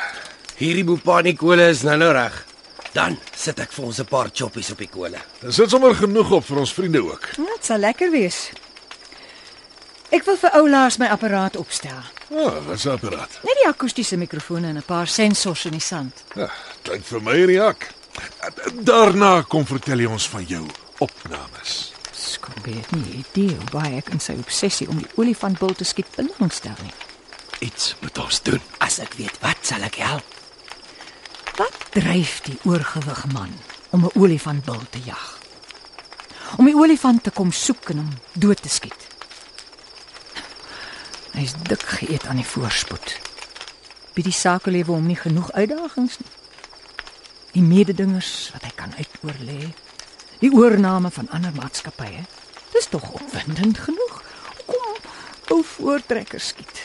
S2: Hierdie Bopani kole is nou nou reg. Dan sit ek vir ons 'n paar choppies op die kole.
S4: Dit sit sommer genoeg op vir ons vriende ook.
S5: Ja, Nou, Dit sal lekker wees. Ek wil vir oulaars my apparaat opstel.
S4: Ja, oh, wat 'n apparaat.
S5: Net die akoestiese mikrofone en 'n paar sensors in die sand.
S4: Ja, klink vir my in die hak. Daarna kom vertel jy ons van jou opnames.
S5: Skompie het nie idee hoe baie ek in sy obsessie om die olifantbul te skiet belangstel nie.
S8: Iets moet ons doen.
S7: As ek weet wat sal ek help.
S5: Wat dryf die oorgewig man om 'n olifantbul te jag? Om die olifant te kom soek en hom dood te skiet. Hy's dik geëet aan die voorspoed. By die sakelewe hom nie genoeg uitdagings nie. Die mededingers wat hy kan uitoorlê, die oorname van ander maatskappye. Dis tog opwindend genoeg. Kom, ou voortrekker skiet.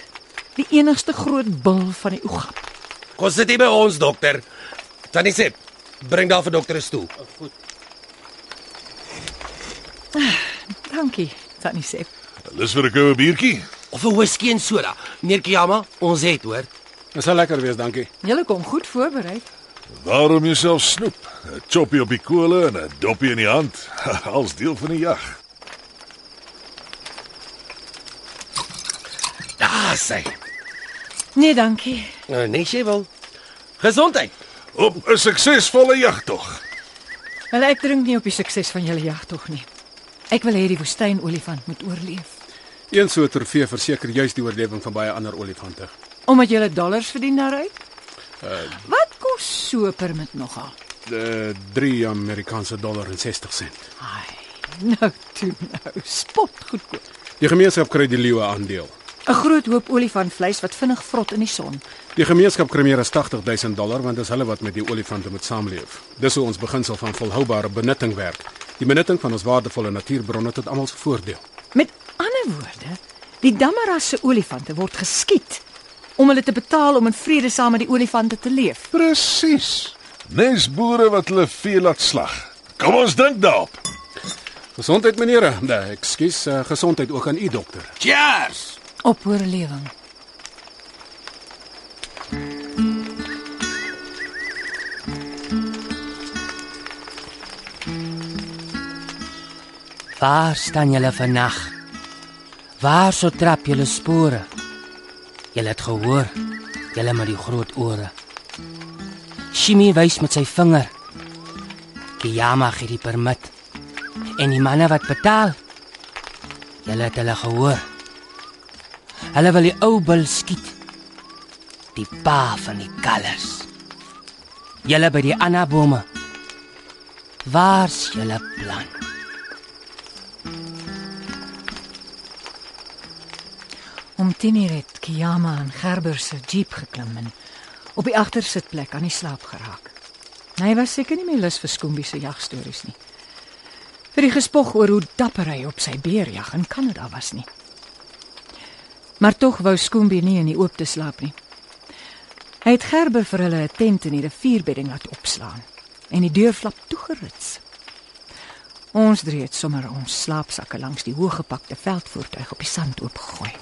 S5: Die enigste groot bul van die Oegap.
S2: Kom sit hier by ons, dokter. Tannie Sep, bring daar vir dokter 'n stoel.
S5: Dankie, Tannie Sep.
S4: Lus vir 'n koue biertjie?
S2: Of 'n whisky en soda. Meneer Kiyama, ons het hoor.
S3: Dit sal lekker wees, dankie.
S5: Julle kom goed voorberei.
S4: Waarom jouself snoep? 'n Choppie op die kole en 'n doppie in die hand, als deel van die jag.
S2: Daar sê.
S5: Nee, dankie.
S2: Nou nee, sy wil. Gesondheid.
S4: Op 'n suksesvolle jagtog.
S5: Wel ek drink nie op die sukses van julle jag tog nie. Ek wil hê die woestynolifant moet oorleef.
S3: Een so 'n trofee verseker juis die oorlewing van baie ander olifante.
S5: Omdat julle dollars verdien daaruit? Wat kos so 'n permit nogal?
S3: De 3 Amerikaanse dollar en 60 sent.
S5: Ai, nou toe nou, spot goedkoop.
S3: Die gemeenskap kry die leeu 'n aandeel.
S5: 'n Groot hoop olifantvleis wat vinnig vrot in die son.
S3: Die gemeenskap kry meer as 80000 dollar want dis hulle wat met die olifante moet saamleef. Dis hoe ons beginsel van volhoubare benutting werk. Die benutting van ons waardevolle natuurbronne tot almal se voordeel.
S5: Met ander woorde, die Damaras se olifante word geskiet om hulle te betaal om in vrede saam met die olifante te leef.
S4: Presies. Nes boere wat hulle vee laat slag. Kom ons dink daarop.
S3: Gesondheid menere. Nee, ekskuus, eh, gesondheid ook aan u dokter.
S2: Cheers.
S5: Op oorlewing.
S7: Waar staan julle vannag? Waar so trap julle spore? Julle het gehoor, julle met die groot ore. Shimi wys met sy vinger. Kiyama gee die permit. En die manne wat betaal, julle het hulle gehoor. Hulle wil die ou bil skiet. Die pa van die kalles. Julle by die anabome. Waar's julle plan?
S5: Om 10 uur het Kiyama aan Gerber se jeep geklim en op die agtersitplek aan die slaap geraak. Hy was seker nie meer lus vir Skombie se jagstories nie. Vir die gespog oor hoe dapper hy op sy beerjag in Kanada was nie. Maar tog wou Skombie nie in die oop te slaap nie. Hy het Gerber vir hulle 'n tent in die rivierbedding laat opslaan en die deurflap toegerits. Ons drie het sommer ons slaapsakke langs die hooggepakte veldvoertuig op die sand oopgegooi.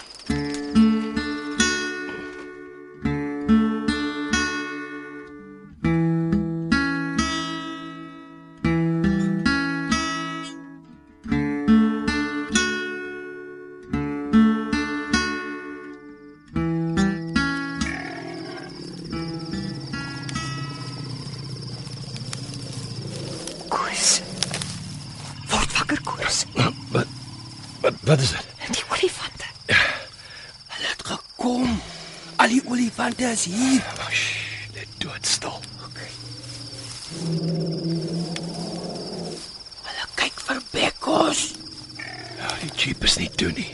S6: Wat is dit?
S5: Die olifante.
S7: Ja. Hulle het gekom. Al die olifante is hier.
S6: Net doodstil.
S7: Hulle kyk vir Bekkos.
S6: Ja, die jeep is nie toe nie.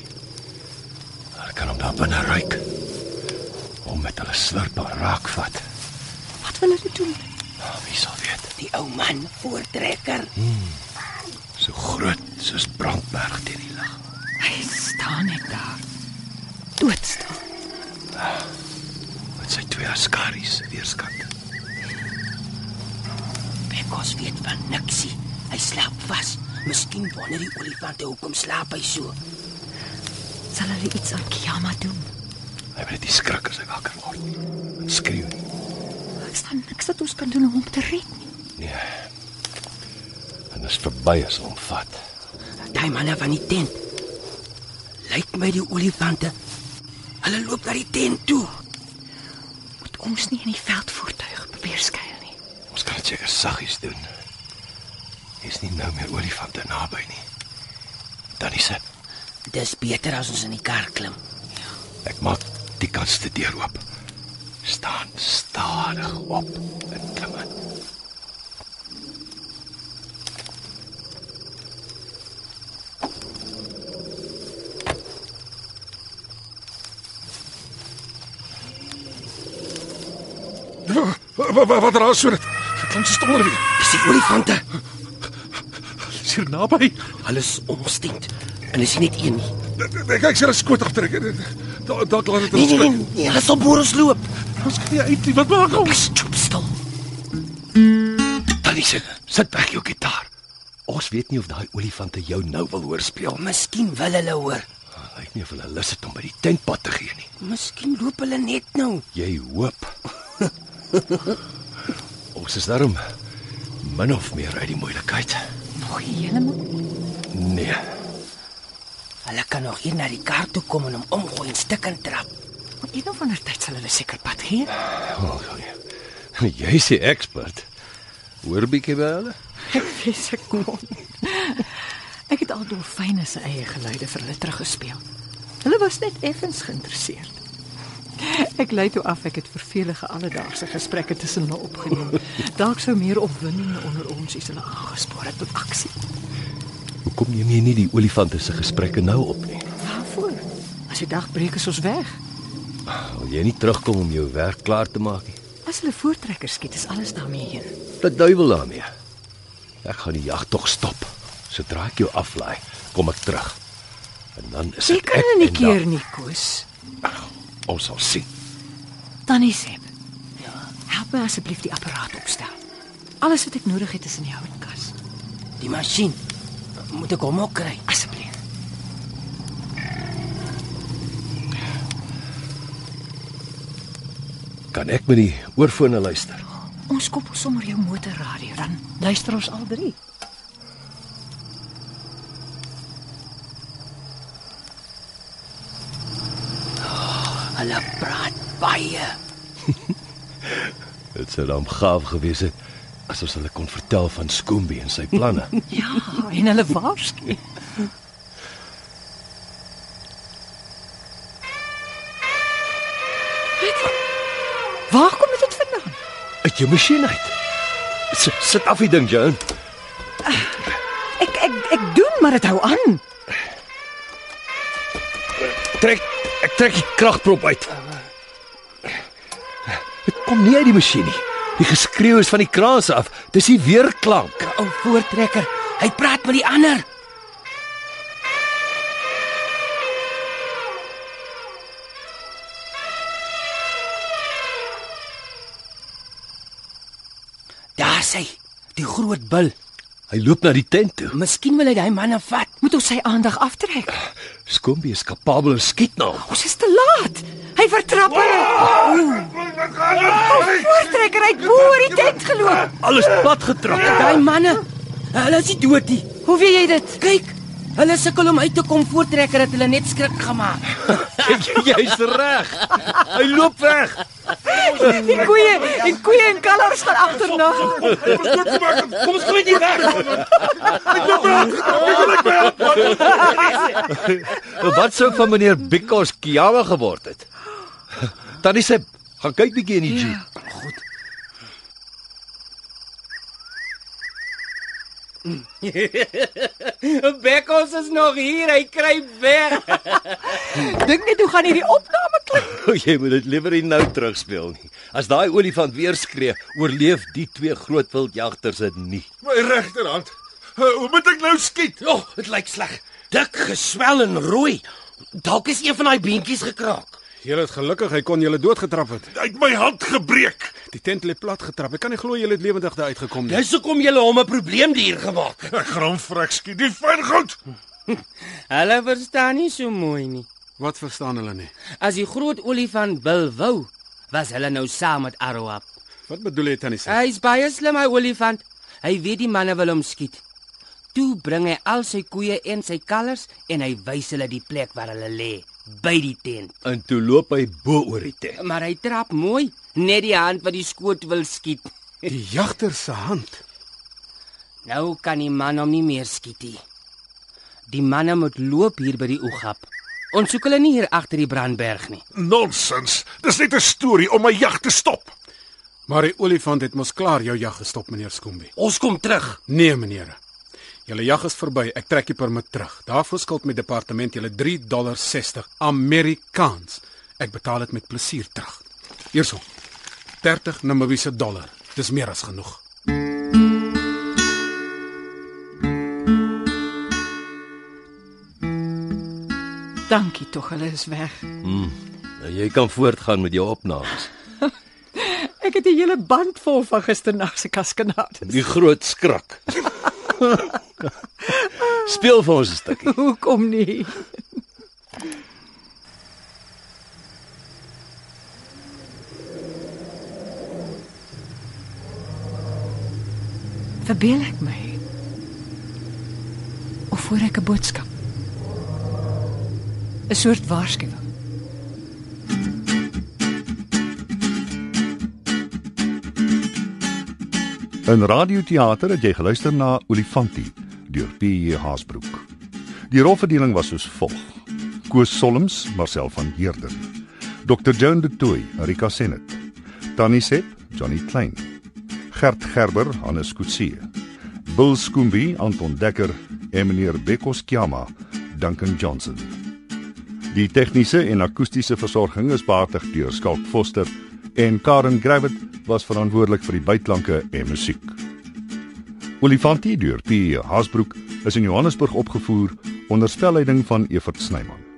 S6: Hulle kan hom daar binne ruik. Hom met hulle slurp en raak vat.
S5: Wat wil hulle doen?
S6: Nou, wie sal weet?
S7: Die ou man voortrekker.
S6: So groot soos Brandberg teen die lig.
S5: Hy staan net daar. Doodstil.
S6: Met sy twee askaries weerskant.
S7: Bekkos weet van niksie. Hy slaap vas. Miskien wonder die olifante hoekom slaap hy so.
S5: Sal hulle iets aan Kiama doen?
S6: Hy weet die skrik as hy wakker word. En skreeu.
S5: Ek staan Er niks wat ons kan doen om hom te red nie.
S6: Nee. En as verby is hom vat.
S7: Daai manne van die tent. Lyk my die olifante. Hulle loop na die tent toe.
S5: Moet ons nie in die veldvoertuig probeer skuil nie.
S6: Ons kan dit seker saggies doen. Hier's nie nou meer olifante naby nie. Dan is dit.
S7: Dis beter as ons in die kar klim.
S6: Ek maak die kanste deur oop. Staan stadig op en klim in.
S4: Wat wat wat raas so dit? Dit klink so stommer weer.
S7: Dis die olifante.
S4: Is hier naby?
S7: Hulle is omstent. En is nie net een nie.
S4: Ek kyk sy is skoot agter ek. Dalk dalk laat dit
S7: Nee,
S4: ons
S7: nee, nee, nee, hulle sal boor ons loop.
S4: Ons kan nie uit nie. Wat maak ons?
S7: Stoep stil.
S6: Dan is dit. Sit weg jou gitaar. Ons weet nie of daai olifante jou nou wil hoor speel nie. Ah,
S7: Miskien wil hulle hoor.
S6: Lyk nie of hulle lus het om by die tentpad te gee nie.
S7: Miskien loop hulle net nou.
S6: Jy hoop. ons is daarom min of meer uit die moeilikheid.
S5: Nog heeltemal.
S6: Nee.
S7: Hulle kan nog hier na die kar toe kom en hom omgooi en stik en trap.
S5: Op een of ander tyd sal hulle seker pad gee.
S6: Oh, jy- jy is die expert. Hoor bietjie by hulle.
S5: Ek wens ek kon. Ek het al dolfyne se eie geluide vir hulle teruggespeel. Hulle was net effens geïnteresseerd. Ek lei toe af ek het vervelige alledaagse gesprekke tussen hulle opgeneem. Dalk sou meer opwinding onder ons iets hulle aangespoor het tot aksie.
S6: Hoekom neem jy nie die olifante se gesprekke nou op nie?
S5: Waarvoor? As die dag breek is ons weg.
S6: Wil jy nie terugkom om jou werk klaar te maak nie?
S5: As hulle voortrekkers skiet, is alles daarmee heen.
S6: Wat duiwel daarmee? Ek gaan die jag tog stop. Sodra ek jou aflaai, kom ek terug. En dan is
S5: Jy
S6: dit
S5: kan
S6: ek
S5: hulle nie
S6: en
S5: keer
S6: dan-
S5: nie, Koos.
S6: Ons sal sien.
S5: Tannie Seb.
S7: Ja.
S5: Help my asseblief die apparaat opstel. Alles wat ek nodig het is in die houtkas.
S7: Die masjien. Moet ek hom ook kry?
S5: Asseblief.
S6: Kan ek met die oorfone luister?
S5: Ons koppel sommer jou motorradio dan. Luister ons al drie.
S7: Oh, Hulle praat baie.
S6: Dit sou dan gaaf gewees het as ons hulle kon vertel van Skoombe en sy planne.
S5: Ja, en hulle waarsku. Wat? Waar kom dit vandaan?
S6: Uit jou masjien uit. Sit, sit af die ding, Joan.
S5: Ek ek ek doen maar dit hou aan.
S6: Trek ek trek die kragprop uit. Dit kom nie uit die masjien nie. Die geskreeu is van die kraan se af. Dis die weerklank.
S7: Ou voortrekker. Hy praat met die ander. Daar sê die groot bil.
S6: Hy loop na die tent toe.
S7: Miskien wil hy daai manne vat.
S5: Moet ons sy aandag aftrek.
S6: Skombie is kapabel om skiet na hom.
S5: Ons is te laat. Hy vertrap hulle. Voortrekker uit bo oor die tent geloop.
S6: Alles plat getrap.
S7: Daai manne. Hulle is nie dood nie.
S5: Hoe weet jy dit?
S7: Kyk, Hulle sukkel om uit te kom voortrekker dat hulle net skrik gemaak.
S6: Jy's reg. Hy loop weg.
S5: Die koeie, die koeie en kalvers gaan agterna.
S2: Kom ons gooi dit weg.
S6: Wat sou van meneer Bikkos Kiawe geword het? Tannie Sib, gaan kyk bietjie in die jeep.
S7: Bekkos is nog hier, hy kruip weg.
S5: Dink net hoe gaan hierdie opname klink.
S6: O, Jy moet dit liewer nie nou terugspeel nie. As daai olifant weer skree, oorleef die twee groot wildjagters dit nie.
S4: My regterhand. Hoe moet ek nou skiet?
S2: O, oh, dit lyk sleg. Dik geswel en rooi. Dalk is een van daai beentjies gekraak.
S3: Julle het gelukkig hy kon julle doodgetrap het.
S4: Hy het my hand gebreek.
S3: Die tent lê plat getrap. Ek kan nie glo julle het lewendig daar uitgekom nie.
S2: Dis hoekom jy hom 'n probleemdier gemaak het.
S4: Ek gaan hom vrek skiet. Die fyn goed.
S7: Hulle verstaan nie so mooi nie.
S3: Wat verstaan hulle nie?
S7: As die groot olifant bil wou, was hulle nou saam met Aroap.
S3: Wat bedoel jy tannie Sib?
S7: Hy's baie slim hy olifant. Hy weet die manne wil hom skiet. Toe bring hy al sy koeie en sy kalvers en hy wys hulle die plek waar hulle lê, by die tent.
S6: En toe loop hy bo oor die tent.
S7: Maar hy trap mooi, net die hand wat die skoot wil skiet.
S3: Die jagter se hand.
S7: Nou kan die man hom nie meer skiet nie. Die manne moet loop hier by die oogap. Ons soek hulle nie hier agter die brandberg nie.
S4: Nonsens. Dis net 'n storie om my jag te stop.
S3: Maar die olifant het mos klaar jou jag gestop, meneer Skoombe.
S2: Ons kom terug.
S3: Nee, meneer. Julle jag is verby. Ek trek die permit terug. Daarvoor skuld my departement julle 3.60 dollar Amerikaans. Ek betaal dit met plesier terug. Hierso. 30 Namibiese dollar. Dis meer as genoeg.
S5: Dankie tog, hulle is weg.
S6: Nou jy kan voortgaan met jou opnames.
S5: Ek het 'n hele band vol van gisternag se kaskanade.
S6: Die groot skrik. Speel vir ons 'n stukkie.
S5: Hoekom nie? Verbeel ek my? Of hoor ek 'n boodskap? 'n Soort waarskuwing.
S1: In radioteater het jy geluister na Olifantie deur P.J. Haasbroek. Die rolverdeling was soos volg: Koos Solms, Marcel van Heerden, Dr. Joan de Tooy, Rika Senet, Tannie Sepp, Johnny Klein, Gert Gerber, Hannes Kutse, Bill Skoombi, Anton Dekker en meneer Bekos Kiama, Duncan Johnson. Die tegniese en akoestiese versorging is behartig deur Skalk Foster en Karen Gravett was verantwoordelik vir die byklanke en musiek. Olifantie deur P. Hasbroek is in Johannesburg opgevoer onder spelleiding van Evert Snyman.